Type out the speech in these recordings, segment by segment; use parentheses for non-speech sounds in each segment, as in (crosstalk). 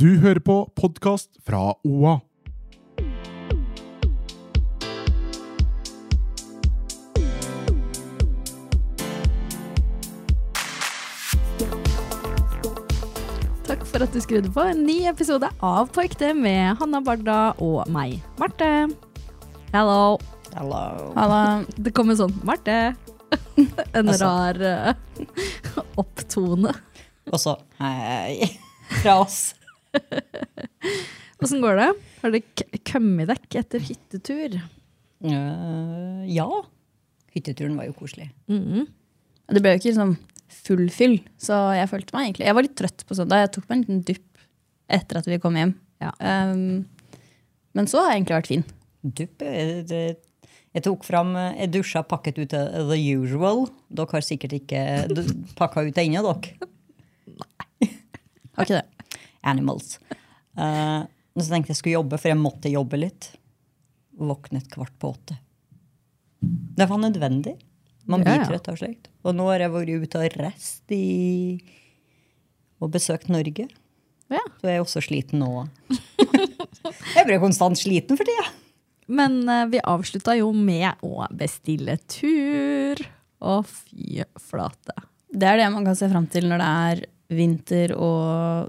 Du hører på podkast fra OA. Takk for at du skrudde på en ny episode av På ekte med Hanna Barda og meg, Marte. Hello. Halla. Det kom en sånn Marte. (laughs) En rar eh, (laughs) opptone. Og så hei (laughs) fra oss. Åssen går det? Har det k- kommet deg etter hyttetur? Øh, ja. Hytteturen var jo koselig. Mhm. Det ble jo ikke liksom full fyll, så jeg følte meg egentlig Jeg var litt trøtt på søndag. Jeg tok meg en liten dupp etter at vi kom hjem. Ja. Um, men så har jeg egentlig vært fin. Dupp, eh, det- jeg tok fram eh, Jeg dusja pakket ut eh, the usual. Dere har sikkert ikke d- pakka ut det ennå, dere. Har ikke det. Animals. Eh, men så tenkte jeg skulle jobbe, for jeg måtte jobbe litt. Våknet kvart på åtte. Det var nødvendig. Man Ja, blir ja. trøtt av slikt. Og nå har jeg vært ute og reist i Og besøkt Norge. Ja. Så jeg er også sliten nå. (laughs) jeg blir konstant sliten for tida. Men eh, vi avslutta jo med å bestille tur. Å, fy flate. Det er det man kan se fram til når det er vinter og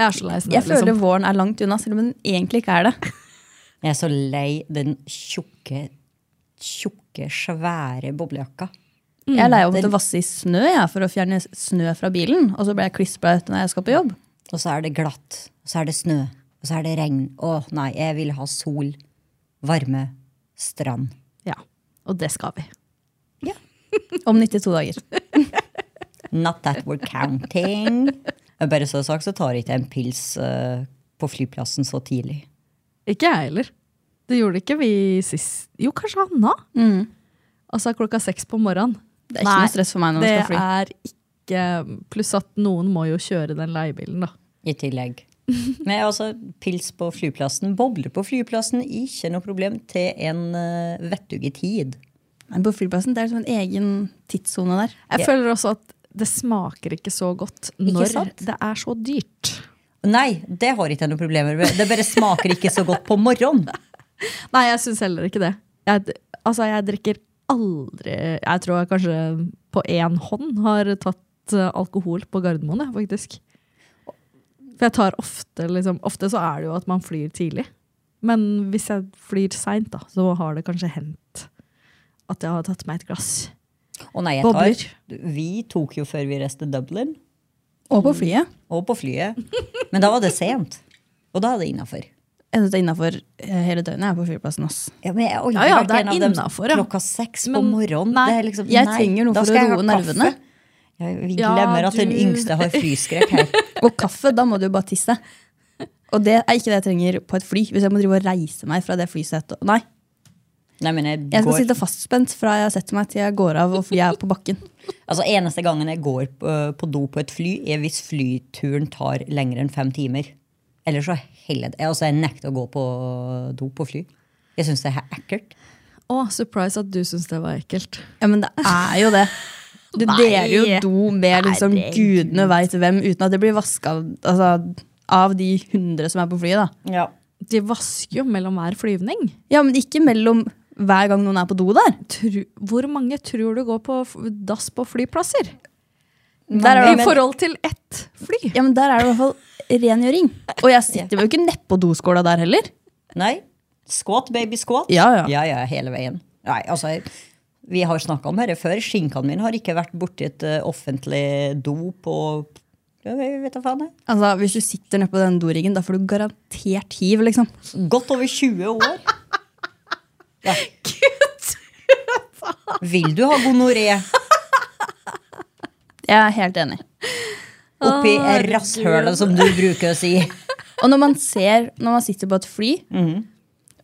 Jeg er så lei snø, Jeg føler liksom. våren er langt unna, selv om den egentlig ikke er det. Jeg er så lei den tjukke, tjukke, svære boblejakka. Mm. Jeg er lei av å Den- måtte vasse i snø jeg, for å fjerne snø fra bilen, og så ble jeg klissblaut når jeg skal på jobb. Og så er det glatt, og så er det snø, og så er det regn. Å nei, jeg vil ha sol, varme, strand. Ja. Og det skal vi. Om 92 dager. Not that we're counting. Jeg Bare så sagt, så tar jeg ikke en pils eh, på flyplassen så tidlig. Ikke jeg heller. Det gjorde ikke vi sist. Jo, kanskje Hanna? Altså klokka seks på morgenen. Mm. Det er ikke noe stress for meg når Det man skal fly. er ikke Pluss at noen må jo kjøre den leiebilen, da. I tillegg. Men altså, pils på flyplassen, bobler på flyplassen, ikke noe problem til en uh, vettuge tid. Men på flyplassen det er liksom en egen tidssone der. Jeg Ja. føler også at det smaker ikke så godt når sant? det er så dyrt. Nei, det har ikke jeg noen problemer med. Det bare smaker ikke så godt på morgenen. Nei, jeg syns heller ikke det. Jeg, d- altså, jeg drikker aldri Jeg tror jeg kanskje på én hånd har tatt eh, alkohol på Gardermoen, jeg, faktisk. For jeg tar ofte liksom Ofte så er det jo at man flyr tidlig. Men hvis jeg flyr seint, da, så har det kanskje hendt at jeg har tatt meg et glass. Å nei, jeg Bobler. tar. Vi tok jo før vi reiste Dublin, Og på flyet. og på flyet. Men da var det sent. Og da er det innafor. Jeg sitter innafor eh, hele døgnet jeg er på flyplassen. ass. Ja, men jeg har aldri Ja, ja, vært det er en av dem innenfor, ja. Klokka seks på Men- morgenen. nei, det er liksom, jeg nei, trenger noe da for skal å jeg ha roe kaffe. nervene. Jeg, vi Ja, glemmer at den du- yngste har flyskrekk (laughs) her. Og kaffe, da må du jo bare tisse. Og det er ikke det jeg trenger på et fly. Hvis jeg må drive og reise meg fra det flysetet. Nei, Nei, men jeg jeg skal går, sitte fastspent fra jeg setter meg til jeg går av og flyet er på bakken. altså, eneste gangen jeg går på, på do på et fly, er hvis flyturen tar lenger enn fem timer. Ellers så heller det. Altså, jeg nekter å gå på do på fly. Jeg syns det er ekkelt. Å, surprise at du syns det var ekkelt. Ja, men det er jo det. Du Nei. deler jo do med liksom Herregud. gudene veit hvem, uten at det blir vaska altså, av de hundre som er på flyet. da. Ja. De vasker jo mellom hver flyvning. Ja, men ikke mellom hver gang noen er på do der. Tru, hvor mange tror du går på f- dass på flyplasser? Der er I det, forhold til ett fly. ja, men der er det i hvert fall rengjøring. Og jeg sitter jo ikke nedpå doskåla der heller. Nei. Squat, baby, squat. Ja, ja. ja, ja, hele veien. Nei, altså, jeg- vi har snakka om dette før. Skinkene mine har ikke vært borti et eh, offentlig do på ja, jeg vet da faen jeg. Altså, Hvis du sitter nede på den doriggen, da får du garantert hiv. liksom. Godt over 20 (laughs) år. Ja. Vil du ha gonoré Jeg er helt enig. oppi rasshølet, som du bruker å si? Og når man ser, når man sitter på et fly, Mhm.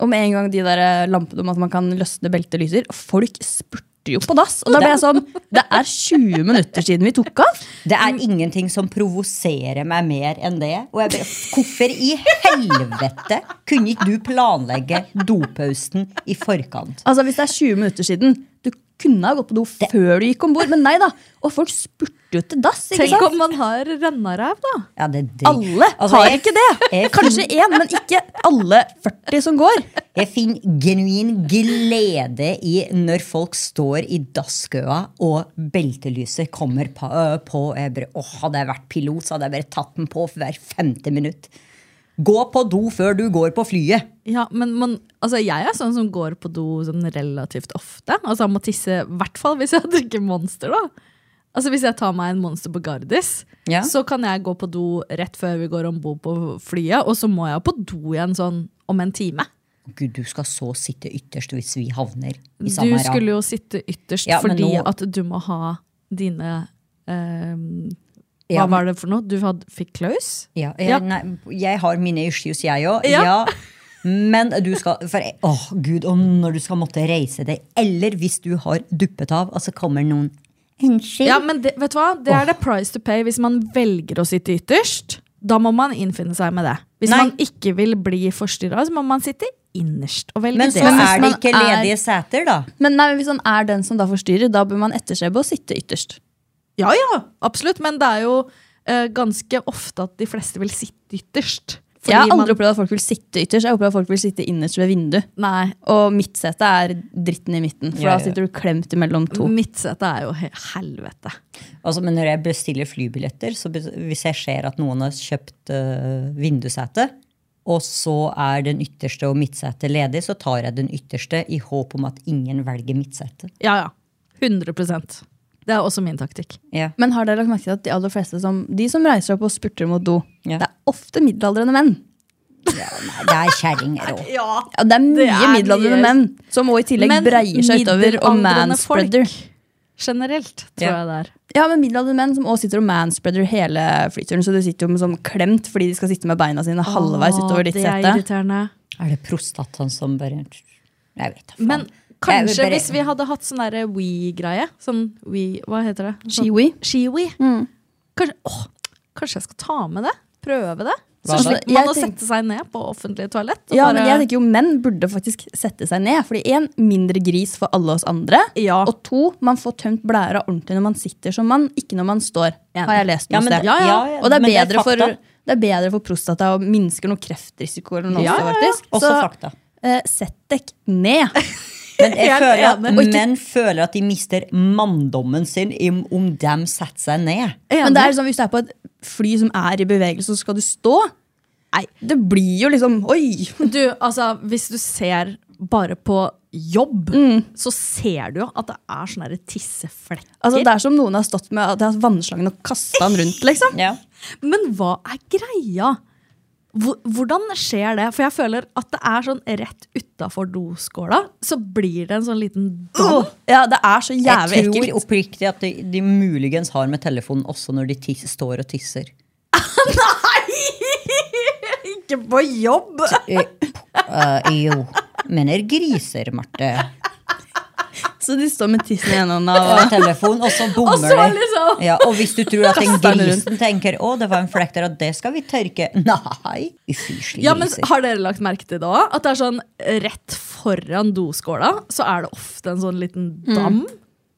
og med en gang de der eh, lampene om at man kan løsne beltet lyser, folk spurter jo på dass. Og da ble jeg sånn Det er 20 minutter siden vi tok av! Det er ingenting som provoserer meg mer enn det. Og jeg bare, hvorfor i helvete kunne ikke du planlegge dopausen i forkant? Altså, Hvis det er 20 minutter siden, du kunne ha gått på do før du gikk om bord, men nei da. Og folk spurte jo til dass. ikke Tenk sant? om man har rennaræv, da. Ja, det er dritt. Alle Altså, har jeg- ikke (laughs) det. jeg- Kanskje én, men ikke alle 40 som går. Jeg finner genuin glede i når folk står i dasskøa, og beltelyset kommer på. øh, på jeg bare, åh, hadde jeg vært pilot, så hadde jeg bare tatt den på for hver femte minutt. Gå på do før du går på flyet. Ja, men man, altså Jeg er sånn som går på do sånn relativt ofte. Altså Jeg må tisse i hvert fall hvis jeg (laughs) drikker Monster. da Altså Hvis jeg tar meg en Monster på Gardis, Ja. så kan jeg gå på do rett før vi går om bord på flyet. Og så må jeg på do igjen sånn om en time. Gud, du skal så sitte ytterst hvis vi havner i Du samme rad. skulle jo sitte ytterst Ja, men fordi nå- at du må ha dine eh, Hva Ja, men- var det for noe? Du hadde, fikk klaus? Ja, Ja. jeg, nei, jeg har mine issues, jeg òg. Ja. Ja. Men du skal for, jeg- Åh, gud, og når du skal måtte reise deg, eller hvis du har duppet av, og så kommer noen Unnskyld. Ja, men det, vet du hva? Det er det price to pay hvis man velger å sitte ytterst. Da må man innfinne seg med det. Hvis Nei. man ikke vil bli forstyrra, så må man sitte innerst og velge Men det. så Men hvis er det man ikke er- ledige seter, da. Men nei, men hvis han er den som da forstyrrer, da bør man etterstrebe å sitte ytterst. Ja, ja, absolutt, men det er jo eh, ganske ofte at de fleste vil sitte ytterst. jeg har aldri man, opplevd at folk vil sitte ytterst. Jeg har opplevd at folk vil sitte innerst ved vinduet. Nei, Og midtsetet er dritten i midten, for Ja, ja. da sitter du klemt imellom to. midtsetet er jo he helvete. Altså, men når jeg bestiller flybilletter, så bes- hvis jeg ser at noen har kjøpt uh, vindussete, og så er den ytterste og midtsetet ledig, så tar jeg den ytterste i håp om at ingen velger midtsetet. Ja, ja. 100 Det er også min taktikk. Ja. Men har dere lagt merke til at de aller fleste som, de som reiser opp og spurter mot do, Ja. det er ofte middelaldrende menn. Nei, det er kjerringer òg. Ja, Ja, det er mye Det er middelaldrende mye. menn som også i tillegg breier seg utover og manspreader. Generelt, tror Ja. jeg det er. Ja, men middelaldrende menn som også sitter og manspreader hele flyturen, så du sitter jo med sånn klemt fordi de skal sitte med beina sine halvveis Åh, utover ditt Det er sete. irriterende. Er det prostataen som bare Jeg vet da faen. Men kanskje Jeg vil bare- hvis vi hadde hatt sånn derre we-greie. Sånn we Hva heter det? Sånn, Shiwi. Shiwi. Mm. Kanskje, åh, kanskje jeg skal ta med det? Prøve det? Så Hva da? slipper man Jeg å tenk- sette seg ned på offentlige toalett. og Ja, bare- men jeg tenker jo menn burde faktisk sette seg ned. Fordi en, mindre gris for alle oss andre. Ja. Og to, man får tømt blæra ordentlig når man sitter som mann, ikke når man står. Enig. Har jeg lest Ja, noe men sted. det- ja, ja, Og det er, men det er bedre for, fakta. det er bedre for prostata og minsker noe kreftrisiko. Eller noe Ja, også, ja, ja. faktisk. Også Så, fakta. eh, sett deg ned. Men (laughs) (laughs) jeg Helt føler at enig. Og ikke- menn føler at de mister manndommen sin im- om de setter seg ned. Enig. Men det er sånn, hvis du er på et fly som er i bevegelse, så skal du stå. Nei, det blir jo liksom Oi! Du, altså, hvis du ser bare på jobb, Mm. så ser du jo at det er sånne der tisseflekker. Altså, det er som noen har stått med at de har vannslangen og kasta den rundt. liksom. Ja. Men hva er greia? Hvor- Hvordan skjer det? For jeg føler at det er sånn rett utafor doskåla, så blir det en sånn liten dom. Ja, Det er så Jeg jævlig tror ekkelt. oppriktig at de, de muligens har med telefonen også når de tis, står og tisser. (laughs) Ikke på jobb! Eh, eh, jo. Men er griser, Marte. Så de står med tissen i ene hånda og (laughs) Og telefon, og så bommer Og så de. liksom- Ja, og hvis du tror at den Kaster den rundt. grisen tenker 'å, det var en flekk der, og det skal vi tørke', nei. Ufyselige Ja, men griser. Har dere lagt merke til det òg? At det er sånn rett foran doskåla, så er det ofte en sånn liten dam.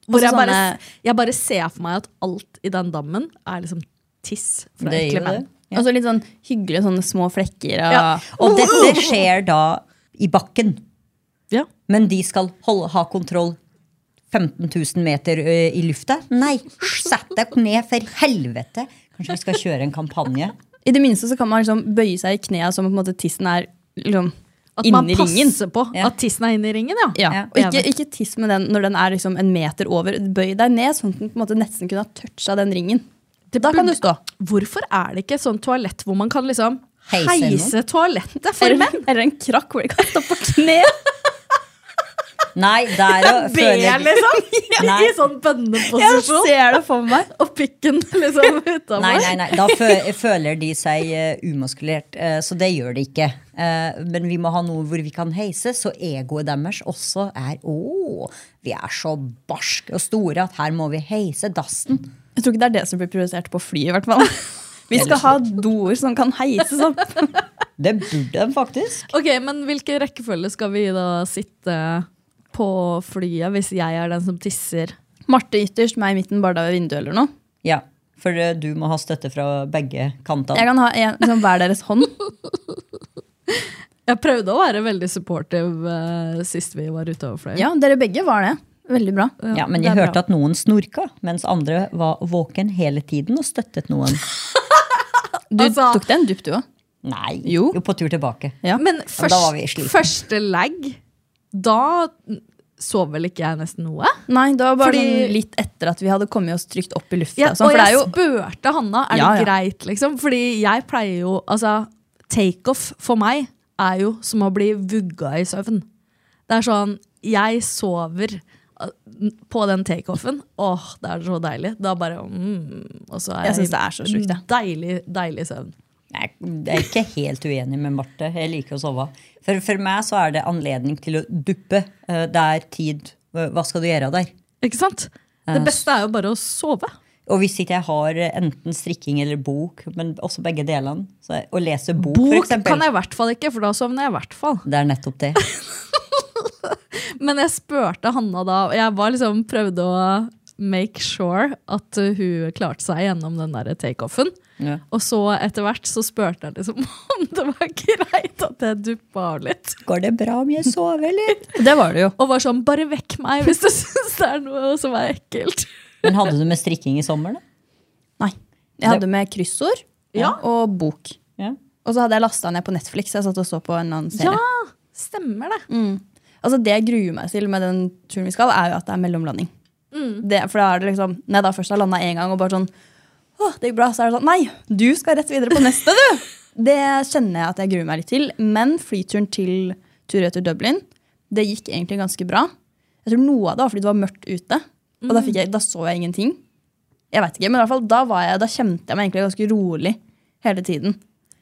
Hvor Også jeg bare, Mm. sånne- jeg bare ser for meg at alt i den dammen er liksom tiss fra Det gjør ekle menn. det. Og så litt sånn hyggelige sånne små flekker. Og, Ja. Og dette skjer da i bakken. Ja. Men de skal holde, ha kontroll 15 000 meter ø, i lufta? Nei, sett deg ned, for helvete! Kanskje vi skal kjøre en kampanje? I det minste så kan man liksom bøye seg i knea som på en måte tissen er liksom At man inni ringen. passer på Ja. at tissen er inne i ringen, ja. Ja. Ja. Og ikke, ikke tiss med den når den er liksom en meter over. Bøy deg ned sånn at den på en måte nesten kunne ha toucha den ringen. da kan du burde- stå. Hvorfor er det ikke et sånt toalett hvor man kan liksom Heise heise, (laughs) toalettet for Eller, menn? eller en krakk hvor de kan stå på (laughs) kne. Nei, der og Be, føler liksom! (laughs) Nei. (laughs) I sånn Jeg bønneposisjon. ser det for meg. Og pikken liksom (laughs) utafor. Nei, nei, nei. Da fø- føler de seg ø, umaskulert. eh, så det gjør de ikke. Eh, men vi må ha noe hvor vi kan heise, så egoet deres også er Å, vi er så barske og store at her må vi heise dassen. Jeg tror ikke det er det som blir prioritert på flyet, i hvert (laughs) fall. Vi skal ha doer som kan sånn. heises (laughs) opp. Det burde de faktisk. Ok, men hvilken rekkefølge skal vi da sitte på flyet hvis jeg er den som tisser. Marte ytterst, meg i midten, Barda ved vinduet eller noe. Ja, for eh, du må ha støtte fra begge kantene. Jeg kan ha en, sånn, hver deres (laughs) hånd. Jeg prøvde å være veldig supportive eh, sist vi var ute over fløyen. Ja, dere begge var det. Veldig bra. Ja, men jeg hørte at noen snorka, mens andre var våken hele tiden og støttet noen. Du Altså- tok den dupp, du òg. Nei, Jo. på tur tilbake. Ja. Men men da var vi først, slitne. første lag, da sov vel ikke jeg nesten noe? Nei, det var bare Fordi- sånn litt etter at vi hadde kommet oss trygt opp i lufta. Ja, og sånn, og for det jeg er jo spurte Hanna er Ja, ja. det greit, liksom. Fordi jeg pleier jo Altså, takeoff for meg er jo som å bli vugga i søvn. Det er sånn Jeg sover eh, på den takeoffen. Åh, det er så deilig. Da bare mm, Og så er Jeg jeg, synes det er så sjukt, ja. deilig, deilig søvn. Jeg jeg er ikke helt uenig med Marte. Jeg liker å sove. For, for meg så er det anledning til å duppe. Eh, Det er tid. Eh, Hva hva skal du gjøre der? Ikke sant? Eh, Det beste er jo bare å sove. Og hvis ikke jeg har eh, enten strikking eller bok, men også begge delene, så jeg, å lese bok, for Bok eksempel kan jeg i hvert fall ikke, for da sovner jeg i hvert fall. Det er nettopp det. Men jeg spurte Hanna da, og jeg var liksom prøvde å make sure at uh, hun klarte seg gjennom den der takeoffen. Ja. Og så etter hvert så spurte jeg liksom (laughs) om det var greit at jeg duppa av litt. Går det bra om jeg sover, eller? Det var det jo. Og var sånn, bare vekk meg hvis du (laughs) syns det er noe som er ekkelt. Men hadde du med strikking i sommer, da? Nei. Jeg hadde med kryssord Ja. og bok. Ja. Og så hadde jeg lasta ned på Netflix. Jeg satt og så på en eller annen serie. Ja, stemmer det. Altså Det jeg gruer meg til med den turen vi skal, er jo at det er mellomlanding. Det, for da er det liksom Når jeg da først har landa én gang og bare sånn Å, det gikk bra. Så er det sånn Nei, du skal rett videre på neste, du! det kjenner jeg at jeg gruer meg litt til. Men flyturen til tur-retur Dublin, det gikk egentlig ganske bra. Jeg tror noe av det var fordi det var mørkt ute, og da, fikk jeg, da så jeg ingenting. Jeg vet ikke, men i hvert fall da, var jeg, da kjente jeg meg egentlig ganske rolig hele tiden.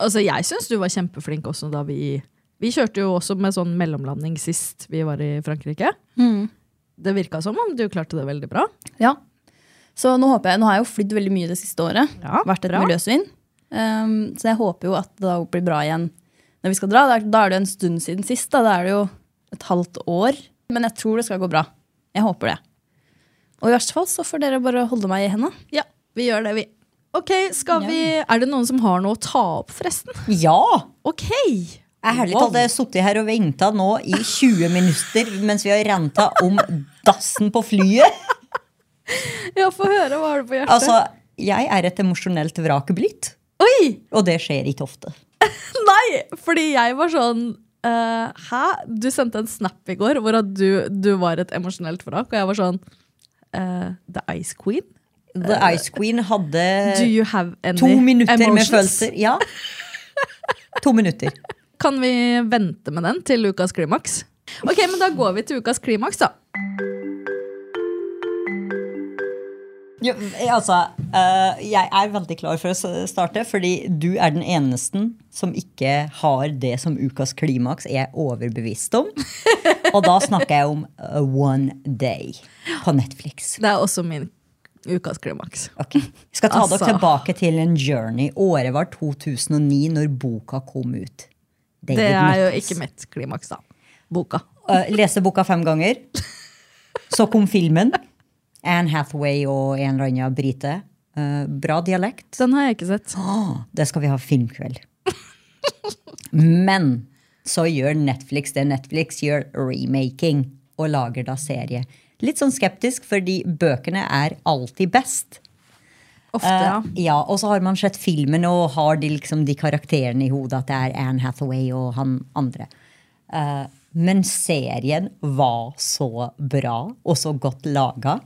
Altså, jeg syns du var kjempeflink også da vi Vi kjørte jo også med sånn mellomlanding sist vi var i Frankrike. Det virka som om du klarte det veldig bra. Ja. Så nå, håper jeg, nå har jeg jo flydd veldig mye det siste året. Ja, vært et bra. miljøsvin. Ehm, så jeg håper jo at det da blir bra igjen når vi skal dra. Da er- Da er det jo en stund siden sist. Da, da er det jo et halvt år. Men jeg tror det skal gå bra. Jeg håper det. Og i verste fall så får dere bare holde meg i henda. Ja, vi gjør det, vi. Ok, skal vi Er det noen som har noe å ta opp, forresten? ja! Ok! Jeg har ærlig talt jeg har sittet her og venta nå i 20 minutter mens vi har renta om dassen på flyet. Ja, få høre. Hva har du på hjertet? Altså, jeg er et emosjonelt vrak blitt, Oi! og det skjer ikke ofte. Nei! Fordi jeg var sånn eh, Hæ? Du sendte en snap i går hvor at du, du var et emosjonelt vrak, og jeg var sånn eh, The Ice Queen? The Ice Queen hadde Do you have any to minutter med emotions? følelser. Ja. To minutter. Kan vi vente med den til ukas klimaks? Ok, men da går vi til ukas klimaks, da. Ja, altså, eh, jeg er veldig klar for å s- starte, fordi du er den eneste som ikke har det som ukas klimaks er overbevist om. Og da snakker jeg om eh, One Day på Netflix. Det er også min ukas klimaks. Ok, Jeg skal ta Altså. dere tilbake til en journey. Året var 2009 når boka kom ut. David Det er jo Nichols. ikke mitt klimaks, da. Boka. Eh, Leste boka fem ganger. Så kom filmen. Anne Hathaway og en eller annen brite. Eh, bra dialekt. Den har jeg ikke sett. «Åh, det skal vi ha filmkveld. (laughs) Men så gjør Netflix det Netflix gjør remaking, og lager da serie. Litt sånn skeptisk, fordi bøkene er alltid best. Ofte, ja. Eh, ja, Og så har man sett filmen, og har de, liksom, de karakterene i hodet at det er Anne Hathaway og han andre. Eh, men serien var så bra og så godt laga.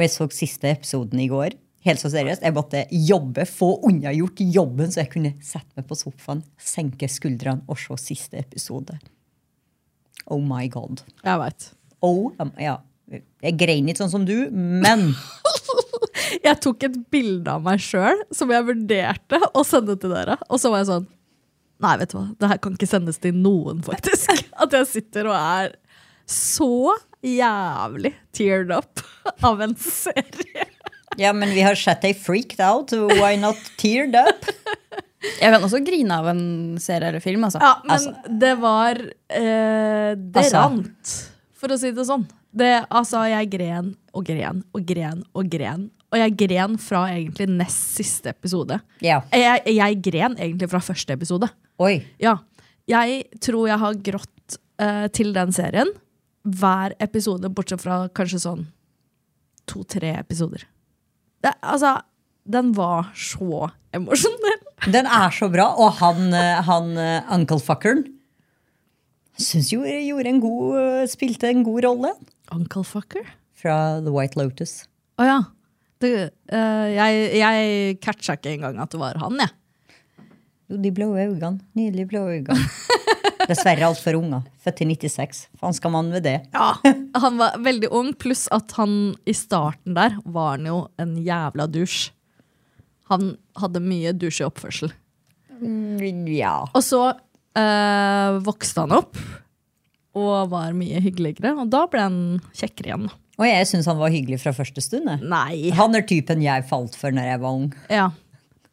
Og jeg så siste episoden i går. Helt så seriøst. Jeg måtte jobbe, få unnagjort jobben, så jeg kunne sette meg på sofaen, senke skuldrene og se siste episode. Oh my god. Jeg veit. Oh, um, ja. Jeg grein ikke sånn som du, men Jeg tok et bilde av meg sjøl som jeg vurderte å sende til dere. Og så var jeg sånn Nei, vet du hva, det her kan ikke sendes til noen, faktisk. (laughs) At jeg sitter og er så jævlig teared up av en serie. Ja, men vi har sett deg freaked out. Why not teared up? Jeg kan også grine av en serie eller film. altså. Ja, men det var eh, Det Altså. rant For å si det sånn. Det, altså, jeg gren og gren og gren og gren. Og jeg gren fra egentlig nest siste episode. Eh, Ja. Jeg, jeg gren egentlig fra første episode. Oi. Ja. Jeg tror jeg har grått eh, til den serien hver episode, bortsett fra kanskje sånn to-tre episoder. Det, altså, den var så emosjonell. Den er så bra. Og han, eh, han eh, uncle fuckeren syns jo gjorde en god, eh, spilte en god rolle Uncle fucker? fra The White Lotus. Å ja. Det, eh, jeg, jeg catcha ikke engang at det var han, jeg. Jo, de blå øynene. Nydelige blå (laughs) øyne. Dessverre altfor unge. Født i 96. Faen skal man med det? Ja. (laughs) Han var veldig ung, pluss at han i starten der var han jo en jævla dusj. Han hadde mye dusj i oppførsel. Mm, Ja. Og så eh, vokste han opp og var mye hyggeligere, og da ble han kjekkere igjen. Og jeg syns han var hyggelig fra første stund. jeg. Nei. Han er typen jeg falt for når jeg var ung. Ja.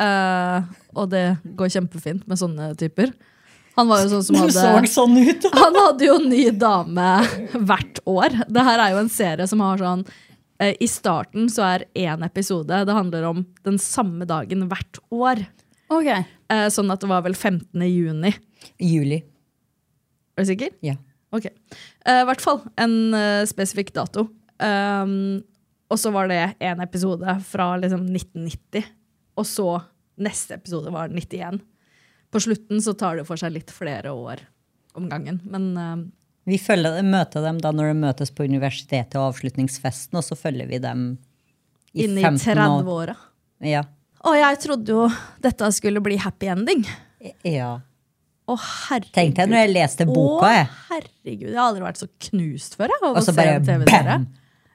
Eh, og det går kjempefint med sånne typer. Han var jo (laughs) sånn som hadde sånn (laughs) ut! Han hadde jo ny dame hvert år. Det her er jo en serie som har sånn eh, I starten så er én episode. Det handler om den samme dagen hvert år. Ok. Eh, sånn at det var vel 15. juni. Juli. Er du sikker? Ja. Ok. Eh, I hvert fall en eh, spesifikk dato. Um, og så var det én episode fra liksom 1990, og så neste episode var 91. På slutten så tar det for seg litt flere år om gangen, men eh, Vi følger, møter dem da når de møtes på universitetet og avslutningsfesten, og så følger vi dem i inn i 15 år. 30-åra. Ja. Og jeg trodde jo dette skulle bli happy ending. ja. Å, herregud. Tenkte jeg når jeg leste boka, Å, jeg. herregud. Jeg har aldri vært så knust før. Jeg, av Og å så se bare en TV-serie. bam!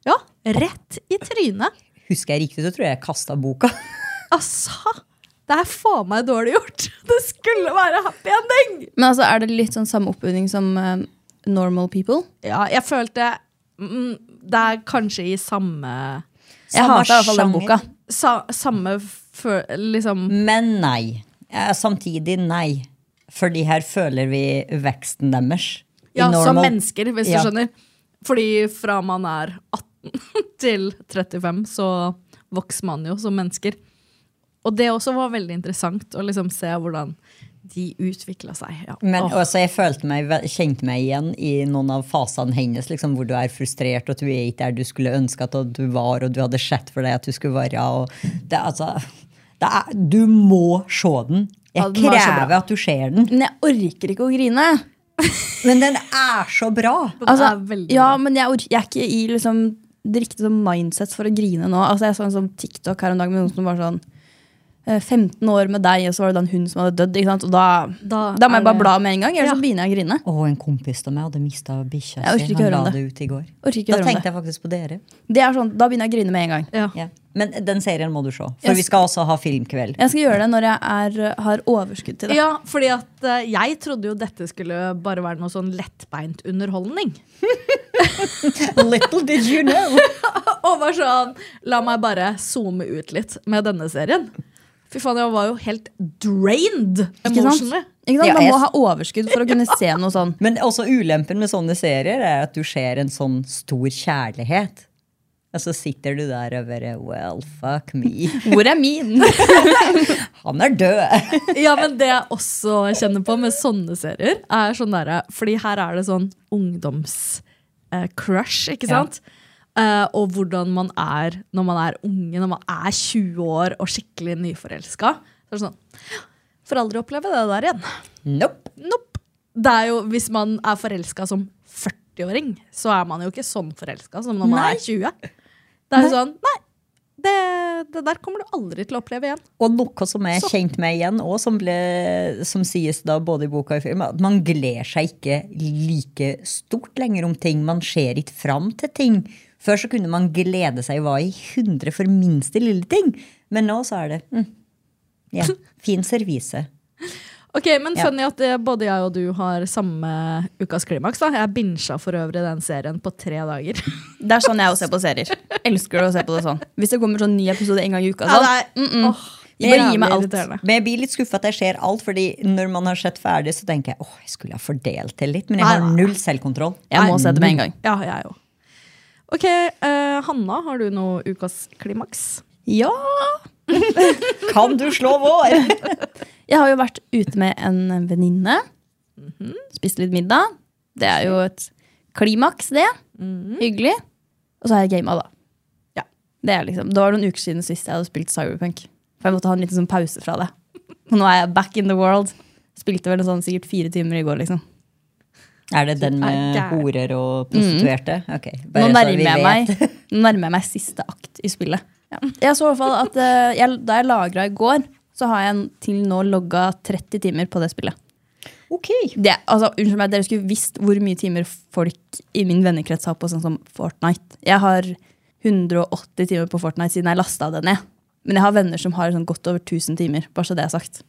Ja, rett i trynet. Husker jeg riktig, så tror jeg jeg kasta boka. Altså, det er faen meg dårlig gjort. (laughs) Det skulle være happy ending. Men altså, er det litt sånn samme oppbygging som eh, normal people? Ja, jeg følte mm, Det er kanskje i samme Jeg Samme hater i hvert fall den sjanger. boka. sa, Samme fø- liksom Men nei. Eh, Samtidig nei. Fordi her føler vi veksten deres. I Ja, som normal- mennesker, hvis Ja. du skjønner. Fordi fra man er 18 (laughs) til 35, så vokser man jo som mennesker. Og det også var veldig interessant å liksom se hvordan de utvikla seg. Ja. Men Åh. også, jeg følte meg, ve- kjente meg igjen i noen av fasene hennes, liksom, hvor du er frustrert, og at du er ikke der du skulle ønske at du var, og du hadde sett for deg at du skulle være. Og det, er altså, det er, du må se den. Jeg Ja, den var så krever bra. at du ser den. Men jeg orker ikke å grine. Men den er så bra! Den Altså, er veldig ja, bra. men jeg, ork- jeg er ikke i liksom, det riktige sånn mindset for å grine nå. Altså, jeg så en sånn TikTok her en dag med noen som var sånn eh, 15 år med deg, og så var det den hun som hadde dødd. Ikke sant? Og da, da, Da må er jeg bare det- bla med en gang, ellers Ja. så begynner jeg å grine. Og en kompis av meg hadde mista bikkja Jeg orker si. ikke Han høre om la det. det ut i går. Orker ikke Da høre om tenkte det. jeg faktisk på dere. det er sånn, da begynner jeg å grine med en gang. Ja. Ja. Men den serien må du se, for Jeg vi skal også ha filmkveld. Jeg skal gjøre det når jeg er, eh, har overskudd til det. Ja, fordi at eh, jeg trodde jo dette skulle bare være noe sånn lettbeint underholdning. (laughs) Little did you know! Og var sånn La meg bare zoome ut litt med denne serien. Fy faen, jeg var jo helt drained Ikke sant? emotionally. Ikke sant? Ja, Man jeg- må ha overskudd for å kunne se noe sånn. (laughs) Men også ulempen med sånne serier er at du ser en sånn stor kjærlighet. Og så sitter du der og bare Well, fuck me. Hvor er min? Han er død! (laughs) Ja, men det jeg også kjenner på med sånne serier, er sånn derre Fordi her er det sånn ungdoms-crush, ikke Ja. sant? Eh, og hvordan man er når man er unge, når man er 20 år og skikkelig nyforelska. Så er det sånn Får aldri oppleve det der igjen. Nope. Nope. Det er jo, hvis man er forelska som 40-åring, så er man jo ikke sånn forelska som når man Nei. er 20. Det er jo sånn Nei, det, det der kommer du aldri til å oppleve igjen. Og noe som jeg Så- kjente meg igjen, og som, ble, som sies da både i boka og i filmen, at man gleder seg ikke like stort lenger om ting. Man ser ikke fram til ting. Før så kunne man glede seg hva i hundre for minste lille ting. Men nå så er det mm, Ja, fin servise. Ok, men Ja. Funny at eh, både jeg og du har samme ukas klimaks. da. Jeg bincha for øvrig den serien på tre dager. Det er sånn jeg også ser på serier. Elsker å se på det sånn. Hvis det kommer sånn ny episode en gang i uka, (laughs) Ja, sånn, det er- mm -mm. Åh, Jeg bare gir meg Jævlig alt. irriterende. Men jeg blir litt skuffa at jeg ser alt, fordi når man har sett ferdig, så tenker jeg åh, jeg skulle ha fordelt det litt, men jeg Nei, har nei. null selvkontroll. Jeg må se det med en gang. Ja, jeg òg. Ok, eh, Hanna, har du noe ukas klimaks? Ja, (laughs) Kan du slå vår? Jeg har jo vært ute med en venninne. Mhm. Spist litt middag. Det er jo et klimaks, det. Mhm. Hyggelig. Og så har jeg gama, da. Ja. Det, er liksom, det var noen uker siden sist jeg hadde spilt Cyberpunk. For jeg måtte ha en liten sånn pause fra det. Og nå er jeg back in the world. Spilte vel sånn sikkert fire timer i går, liksom. Er det den med Er gæren. horer og prostituerte? Ok, Nå bare så vi nærmer, jeg vet. (laughs) meg, nå nærmer jeg meg siste akt i spillet. Ja. Jeg så i hvert fall at eh, jeg, Da jeg lagra i går, så har jeg til nå logga 30 timer på det spillet. Ok. det, altså, unnskyld meg, Dere skulle visst hvor mye timer folk i min vennekrets har på sånn som Fortnite. Jeg har 180 timer på Fortnite siden jeg lasta det ned. Men jeg har venner som har sånn godt over 1000 timer. bare så Det er sagt.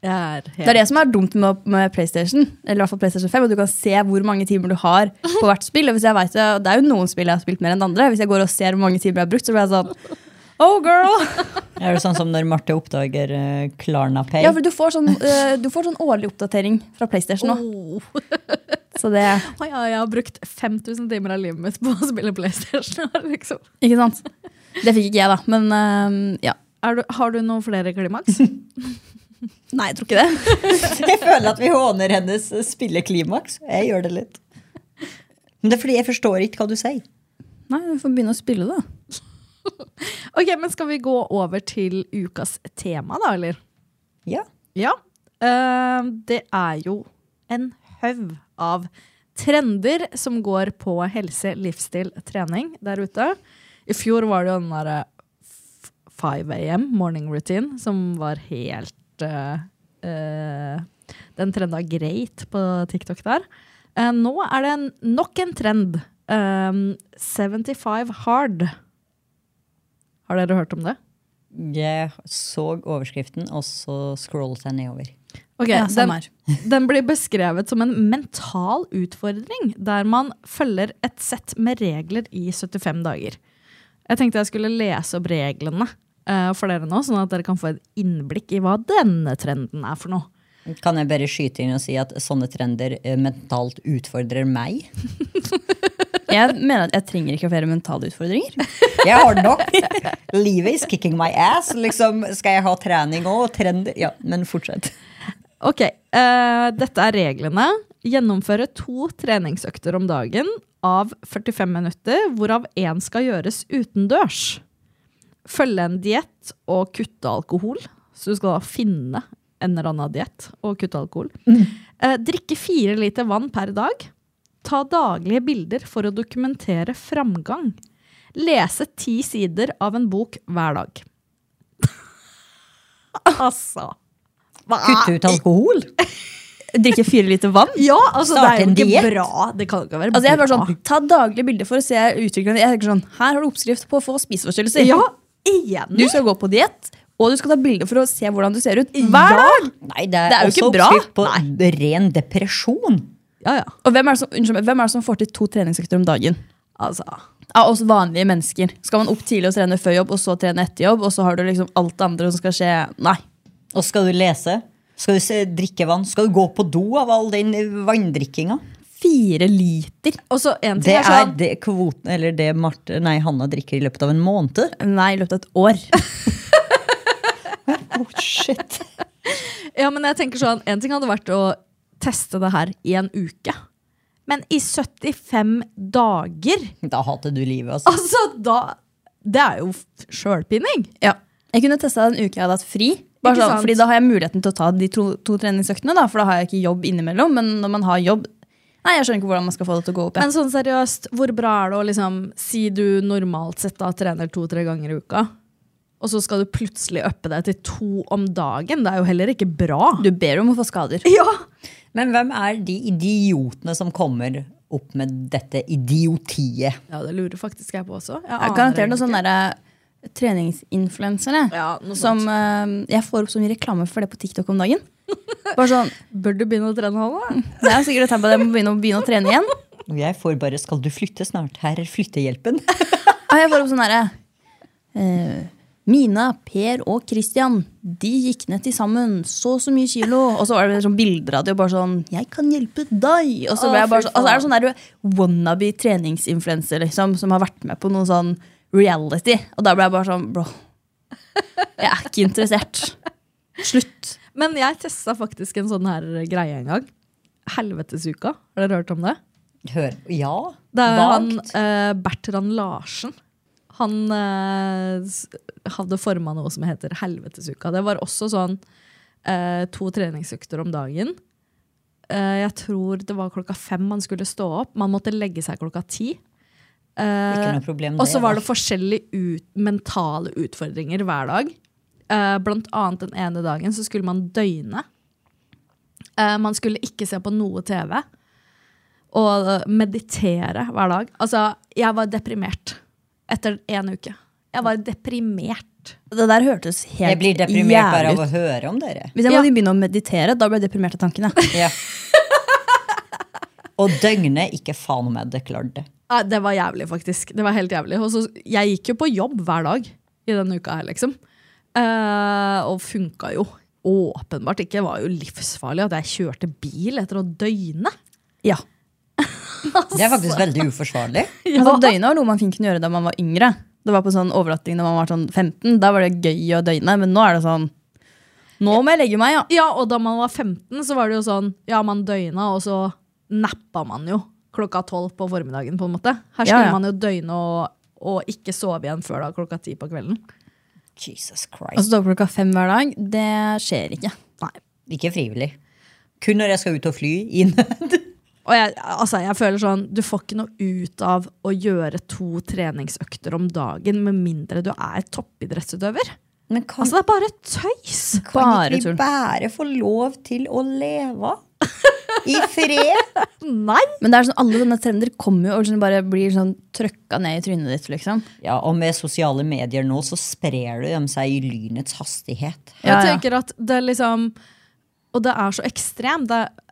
Jeg er helt Det er det som er dumt med, med PlayStation, eller i hvert fall PlayStation 5, at du kan se hvor mange timer du har på hvert spill. Og hvis jeg vet, det og det er jo noen spill jeg har spilt mer enn andre. Hvis jeg går og ser hvor mange timer jeg har brukt, så blir jeg sånn Oh, girl! Er det sånn som når Marte oppdager eh, Klarna Pay? Ja, for du får sånn, eh, du får sånn årlig oppdatering fra PlayStation nå. Åh. Så det Å Oh, ja, jeg har brukt 5000 timer av livet mitt på å spille PlayStation. (laughs) Liksom. Ikke sant? Det fikk ikke jeg, da. Men eh, ja. Er du, har du noen flere klimaks? Nei, jeg tror ikke det. Jeg føler at vi håner hennes eh, spilleklimaks. Jeg gjør det litt. Men det er fordi jeg forstår ikke hva du sier. Nei, Du får begynne å spille, da. Ok, men Skal vi gå over til ukas tema, da, eller? Ja. Ja. eh, det er jo en haug av trender som går på helse, livsstil, trening der ute. I fjor var det jo den derre f- 5 am morning routine som var helt eh, eh, Den trenda greit på TikTok der. Eh, nå er det en, nok en trend. eh, 75 hard. Har dere hørt om det? Jeg så overskriften, og så scrollet jeg nedover. Ok, Ja, den, samme her. Den blir beskrevet som en mental utfordring, der man følger et sett med regler i 75 dager. Jeg tenkte jeg skulle lese opp reglene eh, for dere nå, sånn at dere kan få et innblikk i hva denne trenden er for noe. Kan jeg bare skyte inn og si at sånne trender eh, mentalt utfordrer meg? (laughs) Jeg mener at jeg trenger ikke flere mentale utfordringer. Jeg har det nok! Livet is kicking my ass. Liksom, skal jeg ha trening òg? Trender? Ja, men fortsett. Ok, eh, dette er reglene. Gjennomføre to treningsøkter om dagen av 45 minutter, hvorav én skal gjøres utendørs. Følge en diett og kutte alkohol. Så du skal da finne en eller annen diett og kutte alkohol. Eh, drikke fire liter vann per dag. Ta daglige bilder for å dokumentere framgang. Lese ti sider av en bok hver dag. (laughs) altså Hva Ah, Kutte ut alkohol? (laughs) Drikke fire liter vann. ja, altså det Starte er jo en ikke diett. bra. Det kan jo ikke være Altså jeg er bare bra. sånn, Ta daglige bilder for å se utviklingen. Jeg tenker sånn, Her har du oppskrift på å få spiseforstyrrelser. (laughs) Ja, igjen. Du skal gå på diett, og du skal ta bilder for å se hvordan du ser ut hver dag. Nei, det er, Det er jo også ikke bra. oppskrift på ren depresjon. Ja, ja. Og hvem er, det som, unnskyld, meg, hvem er det som får til to treningsøkter om dagen? Altså. Av oss vanlige mennesker. Skal man opp tidlig og trene før jobb, og så trene etter jobb, og så har du liksom alt det andre som skal skje? Nei. Og skal du lese? Skal du se, drikke vann? Skal du gå på do av all den eh, vanndrikkinga? Fire liter? Og så en ting Det er er sånn det kvoten, eller det Marte, nei, Hanna drikker i løpet av en måned. Nei, i løpet av et år. Oh, shit. Ja, men jeg tenker sånn En ting hadde vært å teste det her i en uke. Men i 75 dager (laughs) Da hater du livet, (laughs) altså. Altså, da Det er jo f- sjølpining. Ja. Jeg kunne testa en uke jeg hadde hatt fri. Bare Ikke sånn, sant? fordi Da har jeg muligheten til å ta de to, to treningsøktene. Da, for da har jeg ikke jobb innimellom. Men når man har jobb Nei, jeg skjønner ikke hvordan man skal få det til å gå opp. Men igjen. sånn seriøst, hvor bra er det å liksom Si du normalt sett da trener to-tre ganger i uka, og så skal du plutselig uppe deg til to om dagen. Det er jo heller ikke bra. du ber om å få skader. Ja, Men hvem er de idiotene som kommer opp med dette idiotiet? Ja, det lurer faktisk jeg på også. Jeg Jeg aner garanterer noen egentlig sånne der, eh, treningsinfluensere. ikke. Ja, noe som sånt. eh, Jeg får opp så mye reklame for det på TikTok om dagen. Bare sånn, Bør du begynne å trene hånda? Det er sikkert et tegn på at jeg må begynne å, begynne å trene igjen. Og Jeg får bare Ah, 'skal du flytte snart', her er flyttehjelpen. Og jeg får opp sånn derre eh, Mina, Per og Christian de gikk ned til sammen så og så mye kilo. Og så var det sånn bilder av de og bare sånn 'Jeg kan hjelpe deg!' Og så Å, ble jeg bare fy sånn, altså, er det sånn der wannabe treningsinfluencer liksom, som har vært med på noe sånn reality. Og da ble jeg bare sånn Bro, jeg er ikke interessert. Slutt. (laughs) Men jeg testa faktisk en sånn her greie en gang. Helvetesuka. Har dere hørt om det? (laughs) Hør, ja, Det er han vagt. eh, Bertrand Larsen. Han eh, s- hadde forma noe som heter Helvetesuka. Det var også sånn eh, to treningsøkter om dagen. Eh, jeg tror det var klokka fem man skulle stå opp. Man måtte legge seg klokka ti. Ikke Eh, noe problem og så var da. det forskjellige ut, mentale utfordringer hver dag. Eh, blant annet den ene dagen så skulle man døgne. Eh, man skulle ikke se på noe TV. Og eh, meditere hver dag. Altså, jeg var deprimert etter en uke. Jeg var deprimert. Det der hørtes helt Jeg blir deprimert bare av å høre om dere. Hvis jeg Ja. måtte begynne å meditere, da ble jeg deprimert av tankene. Ja. (laughs) Og døgnet ikke faen om jeg hadde klart det. Ja, det var jævlig, faktisk. Det var helt jævlig. Og så, jeg gikk jo på jobb hver dag i denne uka her, liksom. Eh, og funka jo åpenbart ikke. Det var jo livsfarlig at jeg kjørte bil etter å døgne. Ja. Det er faktisk veldig (laughs) uforsvarlig. Altså, døgnet var noe man fint kunne gjøre da man var yngre. Det var på sånn overnatting da man var sånn 15. Da var det gøy å døgne, men nå er det sånn Nå må jeg legge meg, ja. Ja, og da man var 15, så var det jo sånn Ja, man døgna, og så nappa man jo klokka tolv på formiddagen, på en måte. Her skulle Ja, ja. man jo døgne og, og ikke sove igjen før da klokka ti på kvelden. Jesus Og Christ. så står klokka fem hver dag. Det skjer ikke. Ikke frivillig. Kun når jeg skal ut og fly inn. Og jeg, altså, jeg føler sånn, du får ikke noe ut av å gjøre to treningsøkter om dagen med mindre du er toppidrettsutøver. (laughs) Men kan, Altså, det er bare tøys! kan ikke Bare vi tull. bare få lov til å (laughs) leve? I fred? Nei! Men det er sånn, alle sånne trender kommer jo og sånn bare blir sånn trøkka ned i trynet ditt, liksom. Ja, og med sosiale medier nå så sprer du dem seg i lynets hastighet. Jeg Ja, ja. tenker at det liksom Og det er så ekstremt. Det er,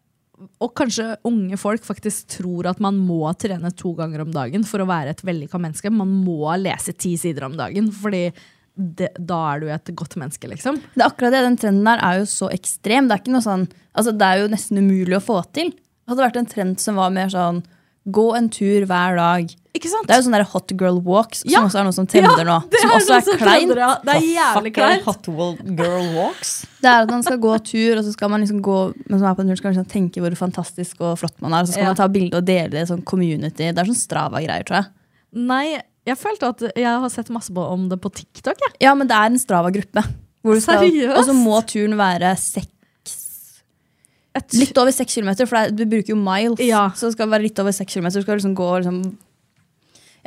og kanskje unge folk faktisk tror at man må trene to ganger om dagen for å være et vellykka menneske. Man må lese ti sider om dagen, fordi det, da er du et godt menneske, liksom. Det er akkurat det, Den trenden der er jo så ekstrem. Det er, ikke noe sånn, altså det er jo nesten umulig å få til. Det hadde vært en trend som var mer sånn gå en tur hver dag. Ikke sant? Det er jo sånne der hot girl walks Ja. som også er noe som trender nå. det Som er også noe er trender, kleint. ja. Det er jævlig Fuck er kleint. hot wall- girl walks. Det er at man skal gå tur, og så skal man liksom gå mens man er på en tur, så skal man liksom tenke hvor fantastisk og flott man er. Og så skal Ja. man ta bilde og dele det i sånn community. Det er sånn Strava-greier, tror jeg. Nei, jeg følte at jeg har sett masse på om det på TikTok. Jeg. Ja, men det er en Strava-gruppe. hvor du skal- Seriøst? Og så må turen være seks Jeg t- Litt over seks kilometer, for det er, du bruker jo miles. Ja. Så det skal være litt over seks kilometer. Du skal liksom gå liksom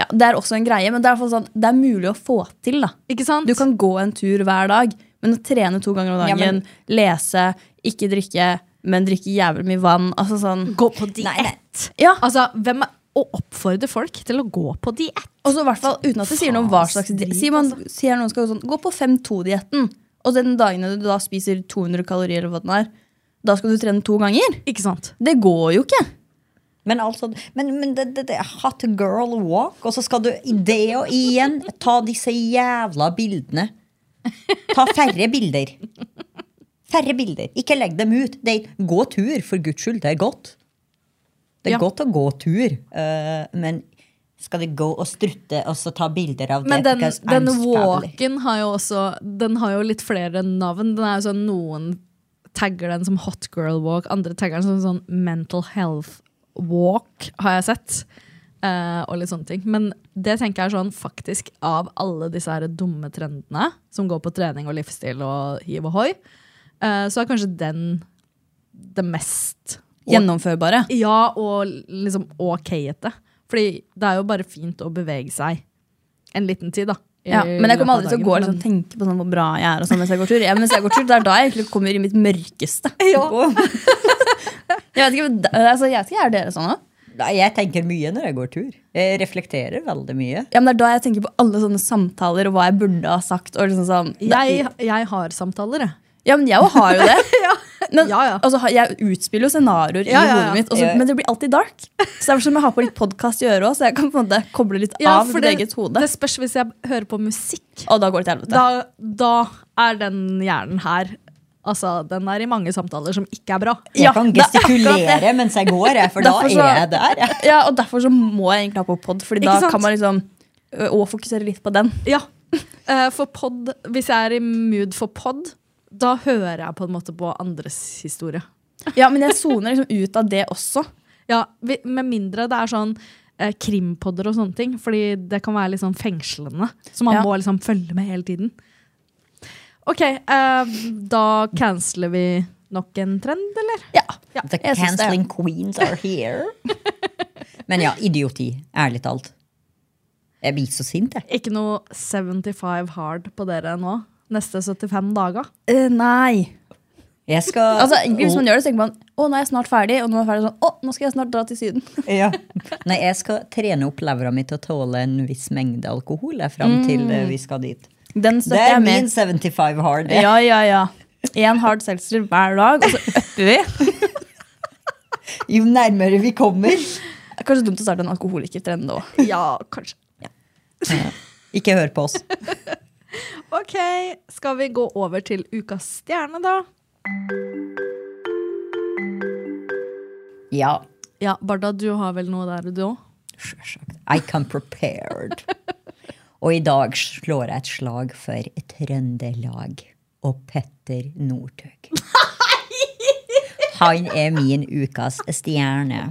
ja, Det er også en greie, men det er, i hvert fall sånn, det er mulig å få til. da. Ikke sant? Du kan gå en tur hver dag, men å trene to ganger om Ja, dagen, men- lese, ikke drikke, men drikke jævlig mye vann altså sånn. gå på Nei, nei. diett. Ja, Altså, hvem er å oppfordre folk til å gå på diett? Og så i hvert fall uten at det sier noe om hva slags diett. Sier, man- sier noen skal gå sånn, gå på 5-2-dietten, og den dagen du da spiser 200 kalorier, eller hva den er, da skal du trene to ganger. Ikke sant? Det går jo ikke. Men altså, men, men det, det, det er hot girl walk, og så skal du i det og igjen ta disse jævla bildene. Ta færre bilder. Færre bilder. Ikke legg dem ut. Det er, gå tur, for guds skyld. Det er godt. Det Ja. er godt å gå tur, eh, men skal du gå og strutte og så ta bilder av Men den, det? because I'm den family. walken har jo også Den har jo litt flere navn. Den er jo sånn Noen tagger den som hot girl walk, andre tagger den som sånn mental health walk, har jeg sett. Eh, og litt sånne ting. Men det tenker jeg er sånn faktisk av alle disse her dumme trendene som går på trening og livsstil og hiv og hoi, eh, så er kanskje den det mest Gjennomførbare. Ja, og liksom okete. Fordi det er jo bare fint å bevege seg en liten tid, da. i Ja, men jeg kommer løpet aldri av til å gå og dagen, liksom, tenke på sånn hvor bra jeg er. Og sånn, mens jeg går tur. Ja, mens jeg går tur, Det er da jeg egentlig kommer i mitt (laughs) mørkeste. Gå. Jeg vet ikke, men det- altså, jeg vet ikke, Er dere sånn da? Nei, jeg tenker mye når jeg går tur. Jeg reflekterer veldig mye. Ja, men Det er da jeg tenker på alle sånne samtaler og hva jeg burde ha sagt. Og liksom sånn, men Jeg, jeg har samtaler, jeg. ja, men jeg jo har jo det. men, Ja, ja. Altså, jeg utspiller jo scenarioer Ja, ja, i ja. hodet mitt, og så- Ja, ja. men det blir alltid dark. Så det er sånn jeg har på litt podkast i øret òg, så jeg kan på en måte koble litt av mitt eget hode. Det spørs hvis jeg hører på musikk. og da går det til helvete. Da, da er den hjernen her Altså, den er i mange samtaler som ikke er bra. Jeg Ja, kan det er akkurat gestikulere mens jeg går, jeg, for da Derfor så- er jeg der. jeg. Ja, og derfor så må jeg egentlig ha på pod, Fordi da Ikke sant? kan man liksom ø, og fokusere litt på den. Ja. (laughs) Eh, For pod, hvis jeg er i mood for pod, da hører jeg på en måte på andres historie. Ja, Men jeg soner liksom ut av det også. Ja, vi, Med mindre det er sånn eh, krimpodder og sånne ting, fordi det kan være litt sånn fengslende. Så man Ja. må liksom følge med hele tiden. OK, eh, da canceler vi nok en trend, eller? Ja, The jeg syns det, ja. canceling queens are (laughs) here. Men ja, idioti. Ærlig talt. Jeg blir så sint, jeg. Ikke noe 75 hard på dere nå? Neste 75 dager? Eh, nei. Jeg skal Altså, egentlig Hvis man gjør det, så tenker man å, nå er jeg snart ferdig. Og når man er ferdig, sånn, å, nå skal jeg snart dra til Syden. Oh, Ja. (laughs) Nei, jeg skal trene opp levra mi til å tåle en viss mengde alkohol jeg, fram til Mm. eh, vi skal dit. Den Det støtter er jeg min med. 75 hard. jeg. Ja, ja, ja. Én hard seltzer hver dag, og så upper vi. Jo nærmere vi kommer. (laughs) Det er kanskje dumt å starte en alkoholikertrend òg. (laughs) Ja, kanskje. Ikke hør på oss. OK, skal vi gå over til ukas stjerne, da? (laughs) Ja, Ja, Barda, du har vel noe der, du òg? Sjølsagt. I come prepared. Og i dag slår jeg et slag for Trøndelag og Petter Northug. Han er min ukas stjerne.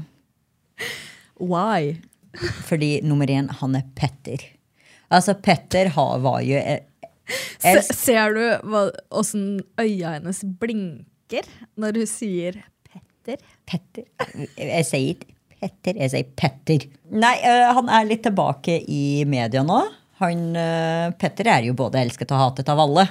Why? Fordi nummer én, han er Petter. Altså, Petter har, var jo eh, Se, jeg- ser du hva- åssen øya hennes blinker når hun sier Petter? Petter. Jeg sier ikke Petter, jeg sier Petter. Nei, øh, han er litt tilbake i media nå. Han, øh, Petter er jo både elsket og hatet av alle.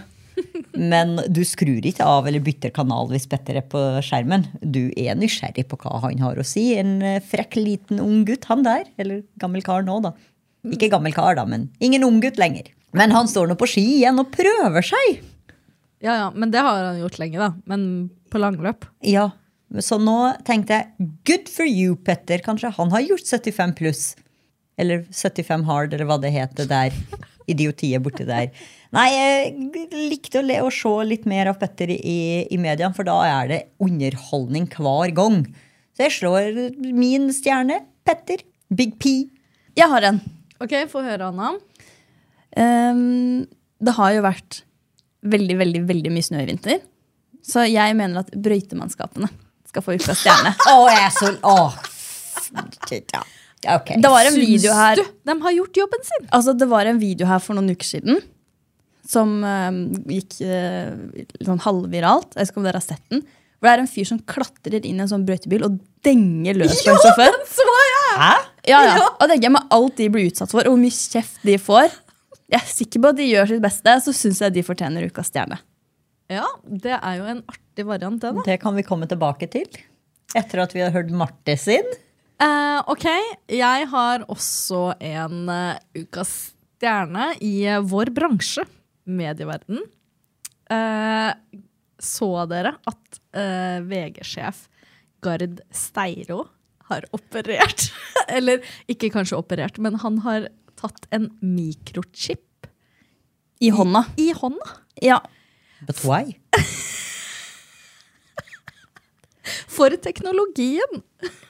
Men du skrur ikke av eller bytter kanal hvis Petter er på skjermen. Du er nysgjerrig på hva han har å si. En øh, frekk liten ung gutt, han der. Eller gammel kar nå, da. Ikke gammel kar, da, men ingen ung gutt lenger. Men han står nå på ski igjen og prøver seg. Ja ja, men det har han gjort lenge, da. Men på langløp. Ja, så nå tenkte jeg good for you, Petter. Kanskje han har gjort 75 pluss. Eller 75 hard, eller hva det heter der. Idiotiet borti der. Nei, jeg likte å, le å se litt mer av Petter i, i media, for da er det underholdning hver gang. Så jeg slår min stjerne, Petter. Big P. Jeg har en. OK, få høre, Anna. Ehm, det har jo vært veldig, veldig, veldig mye snø i vinter. Så jeg mener at brøytemannskapene skal få ukas stjerne. Å, jeg er så Å! ja. Ok. Det var en video her Du, de har gjort jobben sin! Altså, det var en video her for noen uker siden som eh, gikk eh, litt sånn halvviralt. Jeg vet ikke om dere har sett den. Hvor det er en fyr som klatrer inn i en sånn brøytebil og denger løs på en sjåfør. Hæ? Ja, ja. Og tenker jeg med alt de blir utsatt for, og hvor mye kjeft de får. Jeg er sikker på at de gjør sitt beste, så syns jeg de fortjener ukas stjerne. Ja, det er jo en artig variant, det, da. Det kan vi komme tilbake til. Etter at vi har hørt Marte sin. Eh, ok, jeg har også en eh, ukas stjerne i eh, vår bransje, medieverden. Eh, så dere at eh, VG-sjef Gard Steiro har operert? (laughs) Eller ikke kanskje operert, men han har tatt en mikrochip I hånda. i hånda. Ja. But why? For teknologien!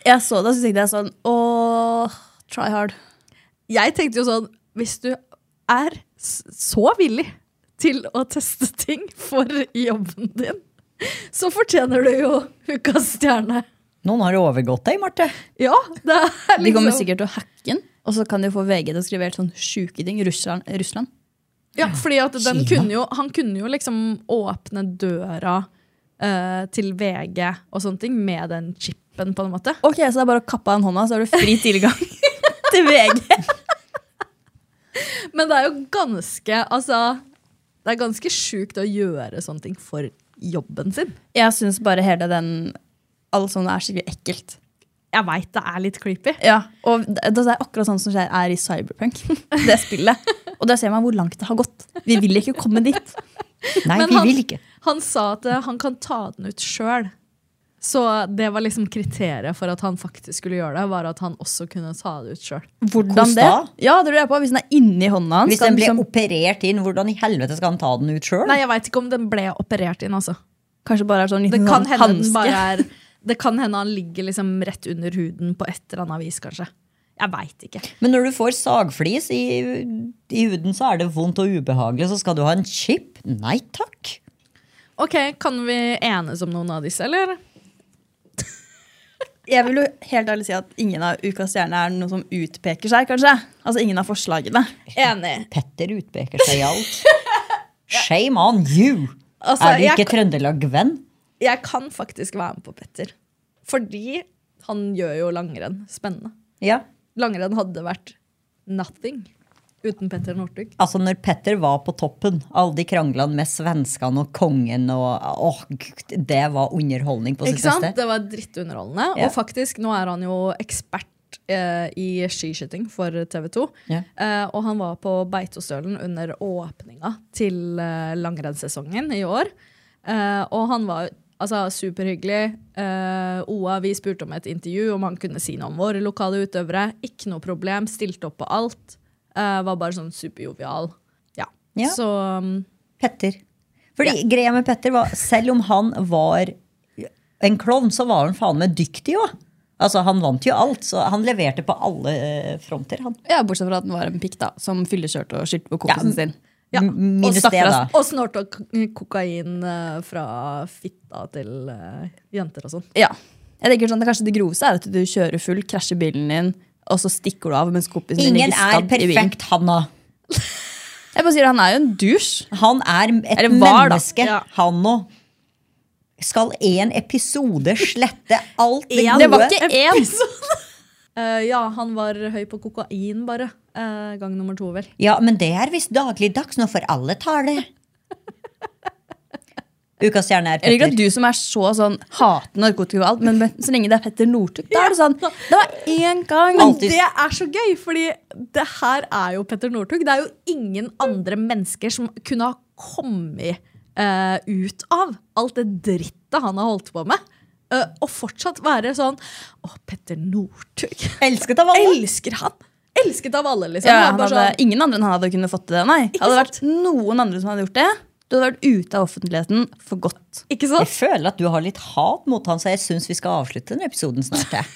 Jeg så det, og så tenkte jeg sånn Åh, try hard. Jeg tenkte jo sånn, hvis du er s- så villig til å teste ting for jobben din, så fortjener du jo ukas stjerne. Noen har overgått deg, Marte. (laughs) Ja, det er De kommer liksom sikkert til å hacke den, og så kan de få VG til å skrive helt sånn sjuke ting. Russland. Russland. Ja, fordi at den Kina. kunne jo, han kunne jo liksom åpne døra eh, til VG og sånne ting med den chipen, på en måte. Ok, Så det er bare å kappe av den hånda, så har du fri tilgang til VG. Men det er jo ganske Altså, det er ganske sjukt å gjøre sånne ting for jobben sin. Jeg syns bare hele den Alt sånt er skikkelig ekkelt. Jeg veit det er litt creepy. Ja, og det det er akkurat sånn som skjer (laughs) er i Cyberpunk. Det spillet. Og der ser man hvor langt det har gått. Vi vil ikke komme dit. Nei, Men vi han- vil ikke. Han sa at eh, han kan ta den ut sjøl. Så det var liksom kriteriet for at han faktisk skulle gjøre det, var at han også kunne ta det ut sjøl. Hvordan det? da? Ja, det lurer jeg på. Hvis den er inni hånda hans. Hvis kan den blir liksom- operert inn, hvordan i helvete skal han ta den ut sjøl? Nei, jeg veit ikke om den ble operert inn, altså. Kanskje bare er sånn Det liten kan sånn hende den hanske. bare er Det kan hende han ligger liksom rett under huden på et eller annet vis, kanskje. Jeg veit ikke. Men når du får sagflis i, i huden, så er det vondt og ubehagelig. Så skal du ha en chip? Nei takk. Ok, Kan vi enes om noen av disse, eller? Jeg vil jo helt ærlig si at ingen av Ukas stjerne er noe som utpeker seg, kanskje. Altså ingen av forslagene. Enig. Petter utpeker seg i (laughs) alt. Shame on you! Altså, er du jeg- ikke Trøndelag-venn? Jeg kan faktisk være med på Petter. Fordi han gjør jo langrenn spennende. Ja. Langrenn hadde vært nothing uten Petter Northug. Altså, når Petter var på toppen, alle de kranglene med svenskene og kongen og åh, gud, Det var underholdning på sitt Ikke sant? beste. Det var drittunderholdende. Ja. Og faktisk, nå er han jo ekspert eh, i skiskyting for TV 2. Ja. Eh, og han var på Beitostølen under åpninga til eh, langrennssesongen i år. Eh, og han var altså, superhyggelig. Eh, Oa, vi spurte om et intervju, om han kunne si noe om våre lokale utøvere. Ikke noe problem, stilte opp på alt. Eh, var bare sånn superjovial. Ja. Ja. Så mm, Petter. Fordi greia med Petter var, selv om han var en klovn, så var han faen meg dyktig òg. Altså, han vant jo alt, så han leverte på alle eh, fronter, han. Ja, Bortsett fra at den var en pikk da, som fyllekjørte og skyldte på kompisen sin. ja. M- Minus det, stakkars- da. Og snorta k- mm, kokain eh, fra fitta til eh, jenter og sånn. Ja. Jeg tenker sånn, det Kanskje det groveste er at du kjører full, krasjer bilen din, og så stikker du av mens kompisen din Ingen ligger er skadd i bilen. perfekt, Hanna. Jeg bare sier, Han er jo en dusj. Han er et Eller var, da. menneske, Ja. han òg. Skal én episode slette alt det En gode? Det var ikke én! Eh, ja, han var høy på kokain, bare. Eh, gang nummer to, vel. Ja, men det er visst dagligdags nå, for alle tar (laughs) det. Ukas stjerne er Jeg liker at Petter. du som er så sånn hater narkotika og alt, men men så lenge det er Petter Northug, da er det sånn. Det var én gang! Men Alltid. det er så gøy, fordi det her er jo Petter Northug. Det er jo ingen andre mennesker som kunne ha kommet eh, ut av alt det drittet han har holdt på med. eh, og fortsatt være sånn Å, Petter Northug. (laughs) Elsket av alle. Elsker han! Elsket av alle, liksom. Ja, Det er han bare hadde, sånn- ingen andre enn han hadde kunnet fått til det. Nei. Hadde det vært noen andre som hadde gjort det, du hadde vært ute av offentligheten for godt. Ikke Jeg sant? føler at du har litt hat mot han, så jeg syns vi skal avslutte den episoden snart. jeg.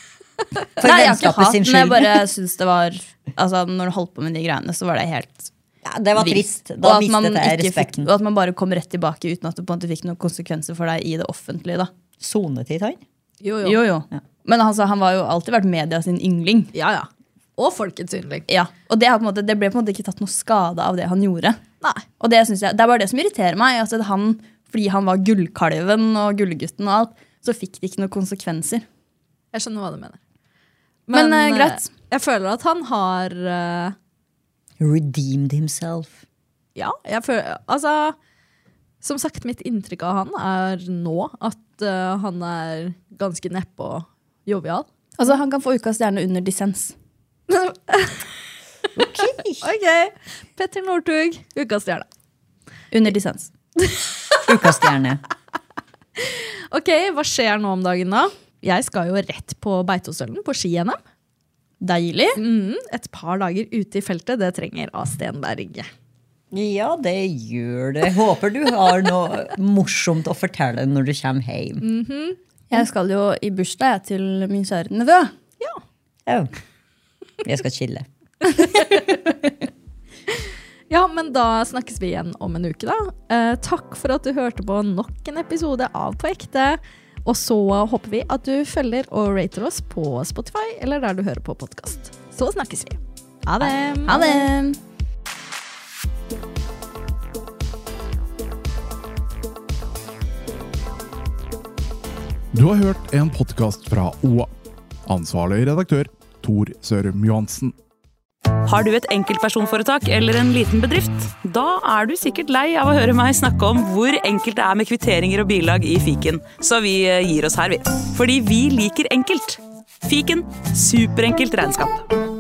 For Nei, jeg har ikke vennskapet hatt sin den. Jeg skyld. bare synes det var altså, Når han holdt på med de greiene, så var det helt Ja, det var vilt. trist. Da Og at man mistet jeg ikke fikk- respekten. Og at man bare kom rett tilbake uten at det på en måte fikk noen konsekvenser for deg i det offentlige. Da. Sonetid, han. Jo, jo. Jo, jo. Men altså, han var jo alltid vært media sin yngling. Ja, ja. Og folkets yndling. Ja, og det, har på en måte, det ble på en måte ikke tatt noe skade av det han gjorde. Nei. Og det, synes jeg, det er bare det som irriterer meg. Altså, at han, fordi han var gullkalven og gullgutten og alt, så fikk det ikke noen konsekvenser. Jeg skjønner hva du mener. Men, eh, eh, greit. Jeg føler at han har eh, Redeemed himself. Ja, jeg føler Altså, som sagt, mitt inntrykk av han er nå at eh, han er ganske neppe og jovial. Altså, han kan få ukas stjerne under dissens. OK! Petter Northug, ukas stjerne. Under dissens. Ukas stjerne. OK, hva skjer nå om dagen, da? Jeg skal jo rett på Beitostølen, på ski-NM. Deilig. Mm, et par dager ute i feltet, det trenger A. Stenberg. Ja, det gjør det. Håper du har noe morsomt å fortelle når du kommer hjem. Jeg skal jo i bursdag jeg, til min kjære nevø. Ja. Au. Jeg skal chille. Ja, men da snakkes vi igjen om en uke, da. Eh, takk for at du hørte på nok en episode av På ekte. Og så håper vi at du følger og rater oss på Spotify eller der du hører på podkast. Så snakkes vi. Ha det. Ha det! Du har hørt en podkast fra OA. Ansvarlig redaktør Tor Sørum Johansen. Har du et enkeltpersonforetak eller en liten bedrift? Da er du sikkert lei av å høre meg snakke om hvor enkelt det er med kvitteringer og bilag i fiken, så vi eh, gir oss her, vi. Fordi vi liker enkelt. Fiken superenkelt regnskap.